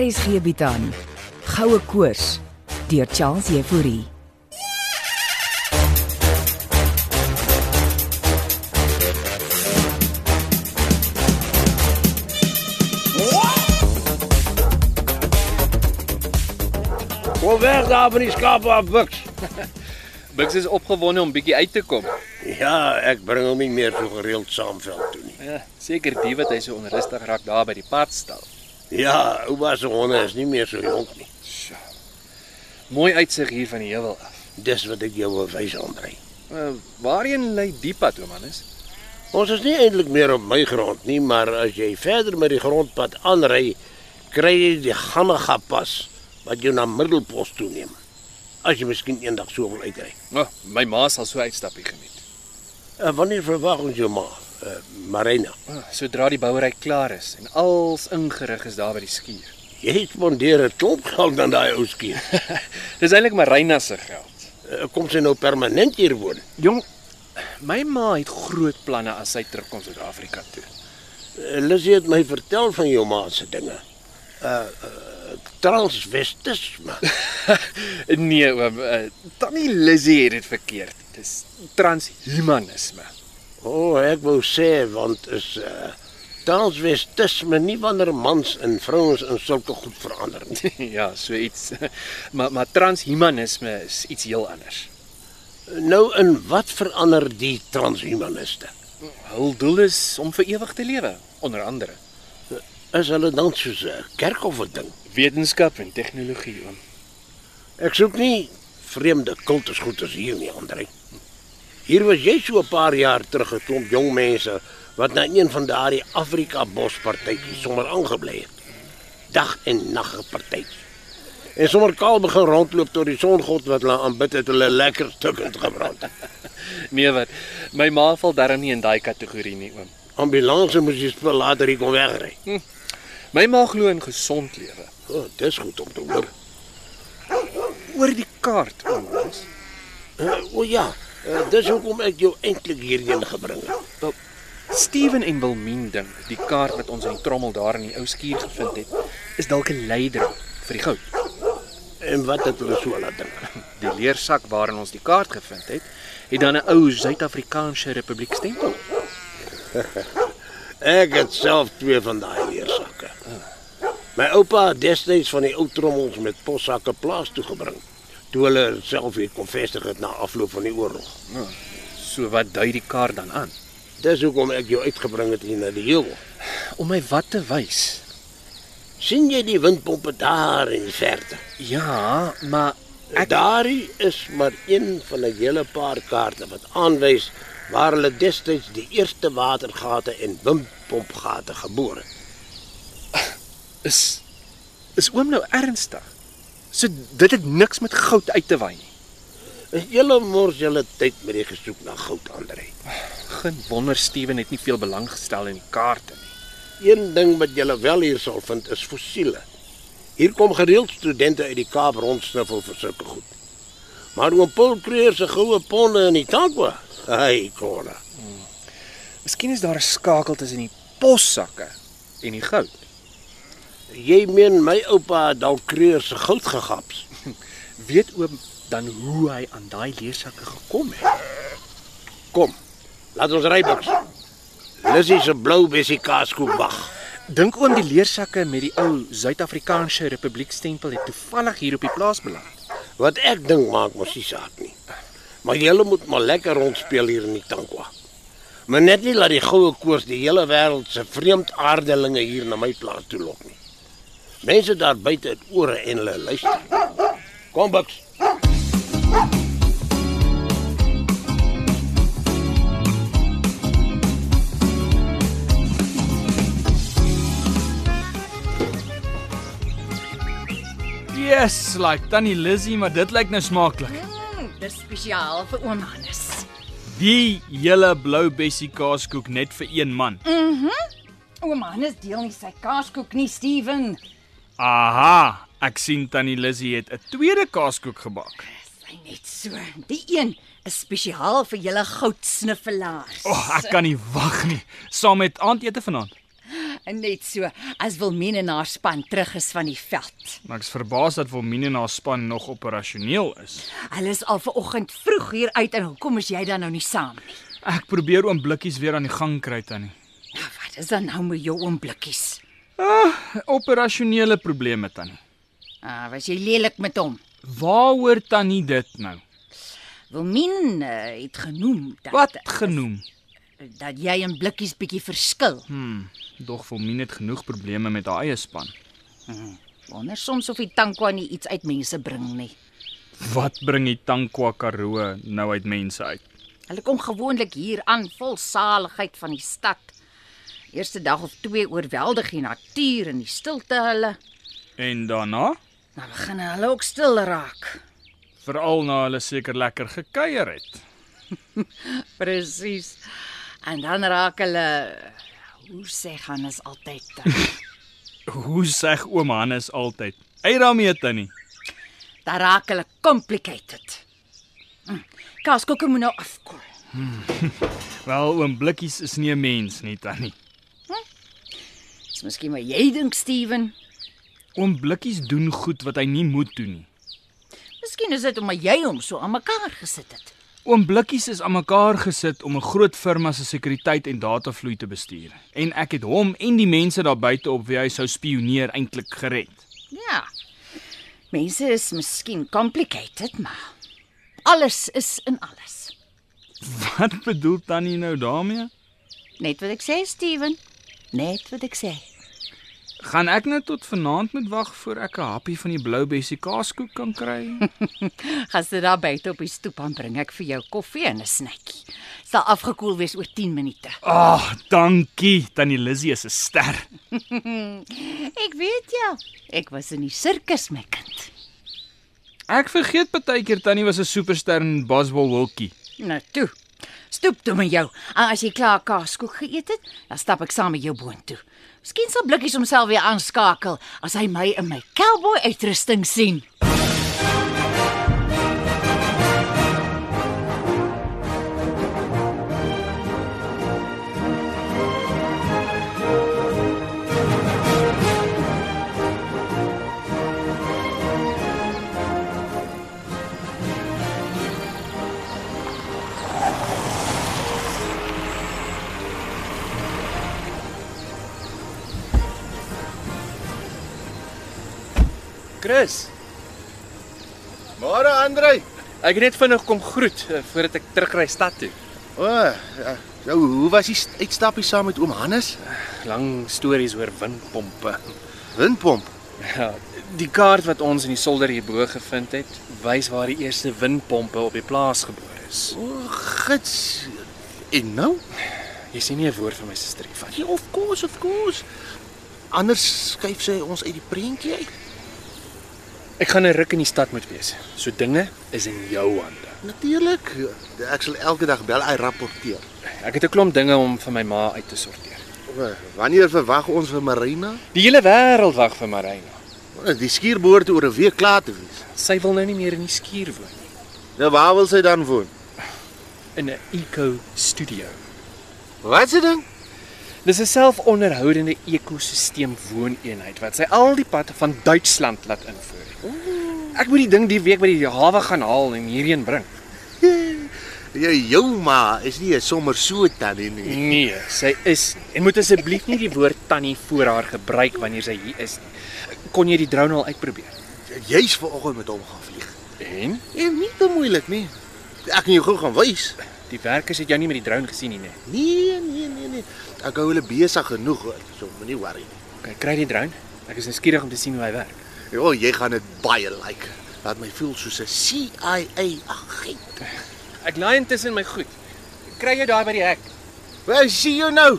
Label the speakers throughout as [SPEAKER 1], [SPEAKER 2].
[SPEAKER 1] RSG bied aan Goue Koors deur Charles Euphorie.
[SPEAKER 2] Kom weg daar van die skape af, Buks.
[SPEAKER 3] Bix is opgewonde om bietjie uit te kom.
[SPEAKER 2] Ja, ek bring hom nie meer so gereeld saamveld toe nie.
[SPEAKER 3] Ja, seker die wat hy so onrustig raak daar by die padstal.
[SPEAKER 2] Ja, ouma se honde is nie meer so jonk nie.
[SPEAKER 3] Mooi uitsig hier van die heuwel af.
[SPEAKER 2] Dis wat ek jou wil wys, Andre.
[SPEAKER 3] Uh, waarheen lei die pad, Omanus?
[SPEAKER 2] Ons is nie eintlik meer op my grond nie, maar as jy verder met die grondpad aanry, kry jy die Ganega pas wat jou na Middelpos toe neem. As jy miskien eendag so wil uitry.
[SPEAKER 3] O, oh, my ma sal so uitstappie geniet.
[SPEAKER 2] En wanneer verwag ons jou ma? Uh, Marina,
[SPEAKER 3] Oh, sodra die bouery klaar is en als ingerig is daar by die skuur.
[SPEAKER 2] jy spandeer 'n klomp geld aan daai ou skier.
[SPEAKER 3] Dis eintlik Marina se geld.
[SPEAKER 2] Uh, kom sy nou permanent hier woon?
[SPEAKER 3] Jong, my ma het groot planne as sy terugkom Suid-Afrika toe.
[SPEAKER 2] Uh, Lizzie het my vertel van jou ma se dinge. Uh, uh transvestisme.
[SPEAKER 3] nee, oom, uh, tannie Lizzie het dit verkeerd. Dis transhumanisme.
[SPEAKER 2] O, oh, ek wou sê want is uh transvestisme nie wanneer mans en vrouens in sulke goed verander nie.
[SPEAKER 3] ja, so iets. Maar maar transhumanisme is iets heel anders.
[SPEAKER 2] Nou in wat verander die transhumaniste?
[SPEAKER 3] Hul doel is om vir ewig te lewe, onder andere.
[SPEAKER 2] Is hulle dan soos 'n kerk of 'n ding?
[SPEAKER 3] Wetenskap en tegnologie oom.
[SPEAKER 2] Ek soek nie vreemde kultus goed as hier nie, Andre. Hier was jy so 'n paar jaar terug 'n klomp jong mense wat na een van daardie Afrika bospartytjies sommer aangebly het. Dag en nag gepartytjie. En sommer kaal begin rondloop tot die songod wat hulle aanbid het, hulle lekker stukkend gebrand.
[SPEAKER 3] Nee wat, my ma val darm nie in daai kategorie nie oom.
[SPEAKER 2] Ambulanse moes jy spul later hier kom wegry.
[SPEAKER 3] My ma glo in gesond lewe.
[SPEAKER 2] O, oh, dis goed om te hoor.
[SPEAKER 3] Oor die kaart oom. Hans.
[SPEAKER 2] Uh, o ja, uh, dis hoekom ek jou eintlik hierheen gebring het.
[SPEAKER 3] Wel, Steven en Wilmien dink die kaart wat ons in die trommel daar in die ou skuur gevind het, is dalk 'n leidraad vir die goud.
[SPEAKER 2] En wat het hulle so laat dink?
[SPEAKER 3] Die leersak waarin ons die kaart gevind het, het dan 'n ou Suid-Afrikaanse Republiek stempel.
[SPEAKER 2] Ek het self twee van daai leersakke. My oupa het destyds van die ou trommels met possakke plaas toe gebring toe hulle self weer kon vestig het na afloop van die oorlog.
[SPEAKER 3] So wat dui die kaart dan aan?
[SPEAKER 2] Dis hoekom ek jou uitgebring het hier na die heuwel.
[SPEAKER 3] Om my wat te wys?
[SPEAKER 2] sien jy die windpompe daar in die verte?
[SPEAKER 3] Ja, maar
[SPEAKER 2] Ek... Daarie is maar een van 'n hele paar kaarte wat aanwys waar hulle destyds die eerste watergate en windpompgate geboor het.
[SPEAKER 3] is is oom nou ernstig? So dit het niks met goud uit te wy nie.
[SPEAKER 2] Julle mors julle tyd met die gesoek na goud, Andre.
[SPEAKER 3] Geen wonder Steven het nie veel belang gestel in die kaarte nie.
[SPEAKER 2] Een ding wat julle wel hier sal vind is fossiele. Hier kom gereeld studente uit die Kaap rondsniffel vir sulke goed. Maar oom Paul Kreer se goue ponde in Itaqua. Ai, kora.
[SPEAKER 3] Miskien is daar 'n skakel tussen die possakke en die goud.
[SPEAKER 2] Jy meen my oupa het dalk Kreer se goud gegaps.
[SPEAKER 3] Weet oom dan hoe hy aan daai leersakke gekom het?
[SPEAKER 2] Kom. Laat ons ry bars. Lissy se blou bessie kaaskoek wag.
[SPEAKER 3] Dink oom die leersakke met die ou Suid-Afrikaanse Republiek stempel het toevallig hier op die plaas beland.
[SPEAKER 2] Wat ek dink maak mos nie saak nie. Maar julle moet maar lekker rondspeel hier in die Tankwa. Maar net nie laat die goue koers die hele wêreld se vreemdaardelinge hier na my plaas toe lok nie. Mense daar buite het ore en hulle luister. Kom Buks.
[SPEAKER 4] Yes, like tannie Lizzy, maar dit lyk nou smaaklik.
[SPEAKER 5] Mm, Dis spesiaal vir oom Hannes.
[SPEAKER 4] Die hele blou bessie kaaskoek net vir een man.
[SPEAKER 5] Oom Hannes deel nie sy kaaskoek nie, Steven.
[SPEAKER 4] Aha, ek sien tannie Lizzy het 'n tweede kaaskoek gebak.
[SPEAKER 5] Sy net so. Die een is spesiaal vir julle goudsniffelaars.
[SPEAKER 4] O, oh, ek kan nie wag nie, saam met aandete vanaand.
[SPEAKER 5] Net so as Wilmien en haar span terug is van die veld.
[SPEAKER 4] Maar ek's verbaas dat Wilmien en haar span nog operasioneel is.
[SPEAKER 5] Hulle is al vanoggend vroeg hier uit en hoekom is jy dan nou nie saam nie?
[SPEAKER 4] Ek probeer oom Blikkies weer aan die gang kry tannie.
[SPEAKER 5] Nou wat is dan nou met jou oom blikkies?
[SPEAKER 4] Operasionele probleme tannie.
[SPEAKER 5] Ah, was jy lelik met hom?
[SPEAKER 4] Waaroor tannie dit nou?
[SPEAKER 5] Wilmien uh, het genoem dat
[SPEAKER 4] Wat genoem?
[SPEAKER 5] dat jy en blikkies bietjie verskil.
[SPEAKER 4] Hmm, Dog Wilmien het genoeg probleme met haar eie span.
[SPEAKER 5] Wonder soms of die tankwa nie iets uit mense bring nie.
[SPEAKER 4] Wat bring die Tankwa Karoo nou uit mense uit?
[SPEAKER 5] Hulle kom gewoonlik hier aan vol saligheid van die stad. Eerste dag of twee oorweldig die natuur en die stilte hulle.
[SPEAKER 4] En daarna,
[SPEAKER 5] Dan begin hulle ook stil raak.
[SPEAKER 4] veral na hulle seker lekker gekuier het.
[SPEAKER 5] Presies. En dan raak hulle hoe sê gaan is altyd
[SPEAKER 4] Hoe sê oom Hannes altyd? Uit daarmee tannie.
[SPEAKER 5] dan raak hulle complicated. Hm, Kaaskoeke moet nou afkom.
[SPEAKER 4] Wel oom Blikkies is nie 'n mens nie tannie.
[SPEAKER 5] Dis miskien maar jy dink Steven.
[SPEAKER 4] Oom Blikkies doen goed wat hy nie moet doen nie.
[SPEAKER 5] Miskien is dit omdat jy hom so aan mekaar gesit het.
[SPEAKER 4] Oom Blikkies is aan mekaar gesit om 'n groot firma se sekuriteit en datavloei te bestuur. En ek het hom en die mense daar buite op wie hy sou spioneer eintlik gered.
[SPEAKER 5] Ja. Mense is miskien complicated, maar alles is in alles.
[SPEAKER 4] Wat bedoel tannie nou daarmee?
[SPEAKER 5] Net wat ek sê, Steven. Net wat ek sê.
[SPEAKER 4] Gaan ek nou tot vanaand moet wag voor ek 'n happie van die blou bessie kaaskoek kan kry?
[SPEAKER 5] Gaan sit daar buite op die stoep en bring ek vir jou koffie en 'n snackie. Sal afgekoel wees oor 10 minute.
[SPEAKER 4] Ag, Ah, dankie. Tannie Lizzie is 'n ster.
[SPEAKER 5] Ek weet ja. Ek was in die sirkus my kind.
[SPEAKER 4] Ek vergeet baie keer tannie was 'n superster in Boswell Wilkie.
[SPEAKER 5] Nou toe. Stoep toe met jou. En as jy klaar kaaskoek geëet het, dan stap ek saam met jou boontoe. Miskien sal Blikkies homself weer aanskakel as hy my in my cowboy uitrusting sien.
[SPEAKER 3] Chris,
[SPEAKER 6] Môre Andrej.
[SPEAKER 3] ek het net vinnig kom groet eh, voordat ek terugry stad toe.
[SPEAKER 6] O, ja, jou, hoe was die st- uitstappie saam met oom Hannes?
[SPEAKER 3] Lang stories oor windpompe.
[SPEAKER 6] Windpomp.
[SPEAKER 3] Ja, die kaart wat ons in die solder hierbo gevind het, wys waar die eerste windpompe op die plaas gebore is.
[SPEAKER 6] O, gits. En nou?
[SPEAKER 3] Jy sien nie 'n woord van my susterie van nie.
[SPEAKER 6] Ja, of course, of course. Anders skuif sy ons uit die prentjie uit.
[SPEAKER 3] Ek gaan 'n ruk in die stad moet wees. So dinge is in jou hande.
[SPEAKER 6] Natuurlik. Ek sal elke dag bel en rapporteer.
[SPEAKER 3] Ek het 'n klomp dinge om vir my ma uit te sorteer.
[SPEAKER 6] O, Wanneer verwag ons vir Marina?
[SPEAKER 3] Die hele wêreld wag vir Marina.
[SPEAKER 6] O, Die skuur behoort oor 'n week klaar te wees.
[SPEAKER 3] Sy wil nou nie meer in die skuur woon nie,
[SPEAKER 6] Nou waar wil sy dan woon?
[SPEAKER 3] in 'n eco studio.
[SPEAKER 6] Wat se ding?
[SPEAKER 3] Dis 'n selfonderhoudende ekosisteem wooneenheid wat sy al die pad van Duitsland laat invoer. Ek moet die ding die week by die hawe gaan haal en hierheen bring.
[SPEAKER 6] Jy Ja, jou ma is nie 'n sommer so tannie nie.
[SPEAKER 3] Nee, sy is nie. en moet asseblief nie die woord tannie voor haar gebruik wanneer sy hier is nie. Kon jy die drone al uitprobeer?
[SPEAKER 6] Jy's vanoggend met hom gaan vlieg.
[SPEAKER 3] En
[SPEAKER 6] En Ja, nie te moeilik nie. Ek kan jou gou gaan wys.
[SPEAKER 3] die werkers het jou nie met die drone gesien nie, né?
[SPEAKER 6] Nee, nee, nee, nee. Ek hou hulle besig genoeg, hoor, so moenie worry nie.
[SPEAKER 3] Okay, kry die drone. Ek is nou skieurig om te sien hoe hy werk.
[SPEAKER 6] Ja, jy gaan dit baie like. Laat my voel soos 'n CIA agent.
[SPEAKER 3] Ek laai intussen my goed. Kry jy daai by die hek?
[SPEAKER 6] Waar sien jou nou?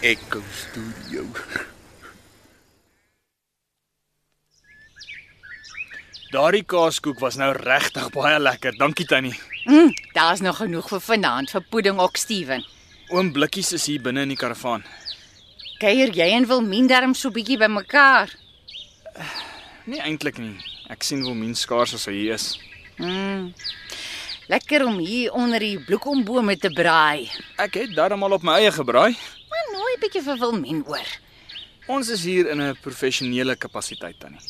[SPEAKER 6] Ek kom studio.
[SPEAKER 4] Daardie kaaskoek was nou regtig baie lekker. Dankie tannie.
[SPEAKER 5] Mm, Daar's nog genoeg vir vanaand vir pudding ook Steven.
[SPEAKER 4] Oom Blikkies is hier binne in die karavaan.
[SPEAKER 5] Kuier jy en Wilmien darm so bietjie by mekaar.
[SPEAKER 4] Nee eintlik nie. Ek sien Wilmien skaars as hy hier is.
[SPEAKER 5] Lekker om hier onder die bloekombome te braai.
[SPEAKER 4] Ek het darmal op my eie gebraai.
[SPEAKER 5] Maar nooi net bietjie vir Wilmien oor.
[SPEAKER 4] Ons is hier in 'n professionele kapasiteit tannie.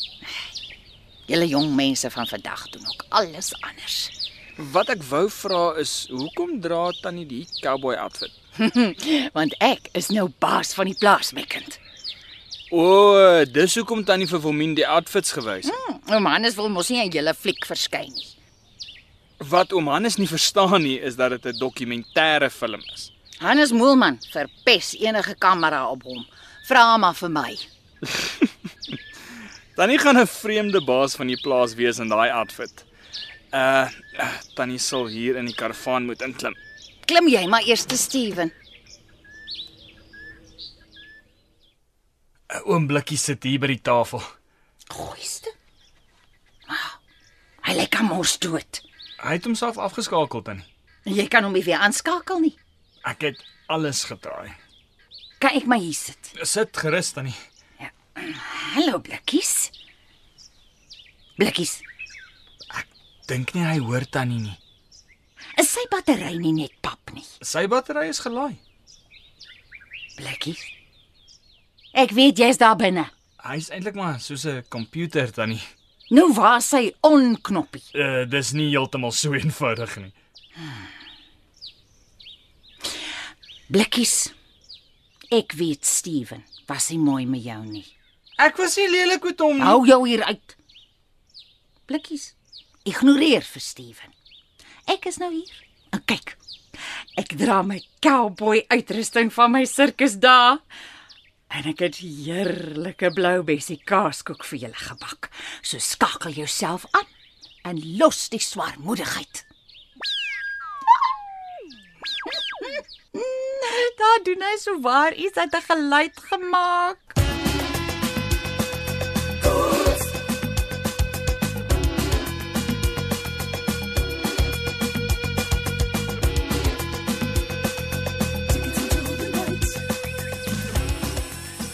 [SPEAKER 5] Julle jong mense van vandag doen ook alles anders.
[SPEAKER 4] Wat ek wou vra is, hoekom dra tannie die cowboy outfit?
[SPEAKER 5] Want ek is nou baas van die plaas, Mekkend.
[SPEAKER 4] O, dis hoekom tannie vir Wilmien die outfits gewys het.
[SPEAKER 5] Hm, oom Hannes wil mos nie aan julle fliek verskyn nie.
[SPEAKER 4] Wat oom Hannes nie verstaan nie, is dat dit 'n dokumentêre film is.
[SPEAKER 5] Hannes Moelman verpes enige kamera op hom. Vra maar vir my.
[SPEAKER 4] Tannie gaan 'n vreemde baas van die plaas wees in daai outfit. Uh, eh, tannie sal hier in die karavaan moet inklim.
[SPEAKER 5] Klim jy maar eers te Steven.
[SPEAKER 4] 'n Oomblikkie sit hier by die tafel.
[SPEAKER 5] Gooiste. Maar Ah, hy lyk aan mos dood.
[SPEAKER 4] Hy het homself afgeskakel tannie.
[SPEAKER 5] En jy kan hom nie weer aanskakel nie.
[SPEAKER 4] Ek het alles getraai.
[SPEAKER 5] Kan ek maar hier sit?
[SPEAKER 4] Sit gerus tannie.
[SPEAKER 5] Hallo blikkies. Blikkies,
[SPEAKER 4] Dink nie hy hoor tannie nie.
[SPEAKER 5] is sy battery nie net pap nie?
[SPEAKER 4] Sy battery is gelaai.
[SPEAKER 5] Blikkies. Ek weet jy's daar binne.
[SPEAKER 4] Hy's eintlik maar soos 'n komputer tannie.
[SPEAKER 5] Nou waar is sy onknoppie?
[SPEAKER 4] Uh, dis nie heeltemal so eenvoudig nie.
[SPEAKER 5] Blikkies. Ek weet Steven was nie mooi met jou nie.
[SPEAKER 4] Ek was nie lelik met hom nie.
[SPEAKER 5] Hou jou hier uit. Blikkies. Ignoreer vir Steven. Ek is nou hier. En kyk. Ek dra my cowboy uitrusting van my sirkusdae. En ek het heerlike bloubessie kaaskoek vir julle gebak. So skakel jouself aan en los die swaarmoedigheid. Nee, Daar doen hy so waar iets uit 'n geluid gemaak.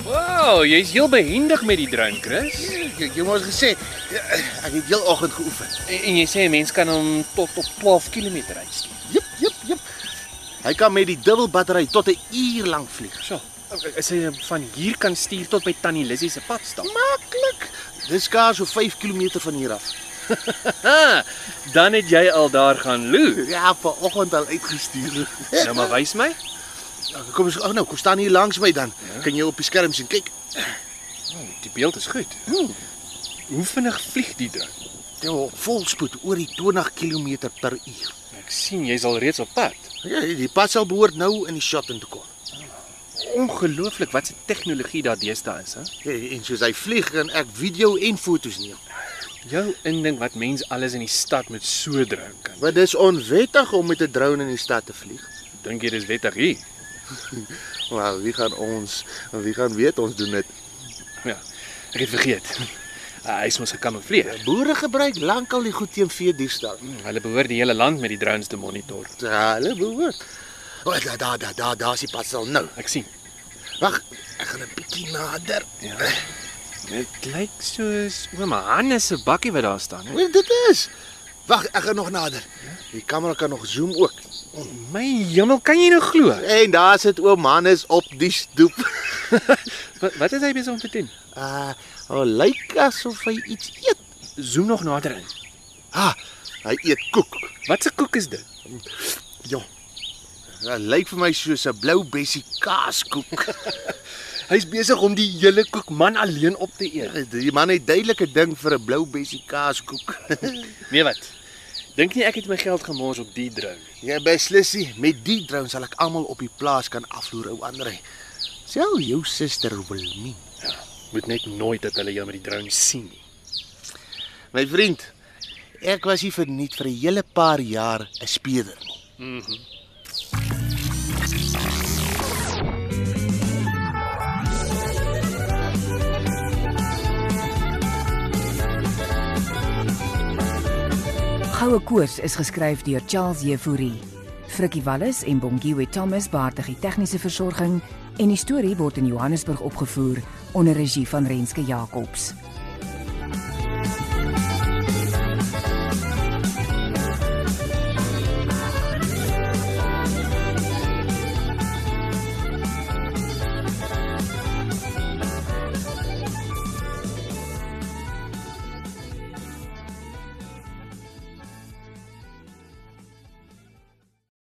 [SPEAKER 3] Wow, jy's heel behendig met die drone, Chris.
[SPEAKER 2] Jy, jy moes gesê
[SPEAKER 6] ja,
[SPEAKER 2] eh, ek het heel oggend geoefen.
[SPEAKER 3] En, en jy sê 'n mens kan hom tot op 12 km uitsteek.
[SPEAKER 2] Jep, jep, jep. Hy kan met die dubbelbattery tot 'n uur lank vlieg.
[SPEAKER 3] So, as jy hom eh, van hier kan stuur tot by Tannie Lissy se pad stap.
[SPEAKER 2] Maklik. Dis skaars so 5 km van hier af.
[SPEAKER 3] Ha, dan het jy al daar gaan loer.
[SPEAKER 2] Ja, vanoggend al uitgestuur.
[SPEAKER 3] Nou maar wys my.
[SPEAKER 2] Ja, Kom eens, oh nou, kom staan hier langs my dan. Kan jy op die skerm sien? Kyk.
[SPEAKER 3] Die beeld is goed.
[SPEAKER 2] Hmm.
[SPEAKER 3] Hoe vinnig vlieg die drone?
[SPEAKER 2] Ja, volspoed oor die 20 km per uur.
[SPEAKER 3] Ek sien jy's al reeds op pad.
[SPEAKER 2] Ja, die pad sal behoort nou in die shot in te kom.
[SPEAKER 3] Ongelooflik wat se tegnologie daar deesdae is, hè?
[SPEAKER 2] Ja, en soos hy vlieg en ek video en fotos neem.
[SPEAKER 3] Jou indink wat mens alles in die stad met so drone kan.
[SPEAKER 2] Want dis onwettig om met 'n drone in die stad te vlieg.
[SPEAKER 3] Dink jy dis wettig hier?
[SPEAKER 2] Maar wie gaan ons, wie gaan weet ons doen dit.
[SPEAKER 3] Ja. Ek het vergeet. Uh, hy is mos gekamoufleer.
[SPEAKER 2] Boere gebruik lankal die goed teen veediefstal.
[SPEAKER 3] Hulle behoort die hele land met die drones te monitor.
[SPEAKER 2] Ja, hulle behoort. O, daar daar daar daar daar's die pad sal nou.
[SPEAKER 3] Ek sien.
[SPEAKER 2] Wag, ek gaan 'n bietjie nader.
[SPEAKER 3] Ja. Dit lyk soos ouma Hannes se bakkie wat daar staan. hè?
[SPEAKER 2] O, dit is. Wag, ek gaan nog nader. Die kamera kan nog zoom ook.
[SPEAKER 3] My hemel, kan jy nou glo?
[SPEAKER 2] En daar sit oom Hannes op die stoep.
[SPEAKER 3] Wat wat is hy besig om te doen?
[SPEAKER 2] Ah, uh, oh, lyk asof hy iets eet.
[SPEAKER 3] Zoom nog nader in.
[SPEAKER 2] Ah, hy eet koek.
[SPEAKER 3] Wat 'n koek is dit?
[SPEAKER 2] Ja. Dit lyk vir my soos 'n blou bessie kaaskoek.
[SPEAKER 3] Hy's besig om die hele koek man alleen op te eet.
[SPEAKER 2] die man het duidelike ding vir 'n blou bessie kaaskoek.
[SPEAKER 3] Nee wat? Dink nie ek het my geld gemors op die drone.
[SPEAKER 2] Jy beslissie, Ja, met die drone sal ek almal op die plaas kan afloer ou Andre. Sel jou suster Wilmien.
[SPEAKER 3] Ja, Moet net nooit dat hulle jou met die drone sien nie.
[SPEAKER 2] My vriend, ek was hier verniet vir 'n hele paar jaar 'n speeder.
[SPEAKER 7] Goue Koors is geskryf deur Charles Jefouri. Frikkie Wallis en Bongiwe Thomas baartig die tegniese versorging en die storie word in Johannesburg opgevoer onder regie van Renske Jacobs.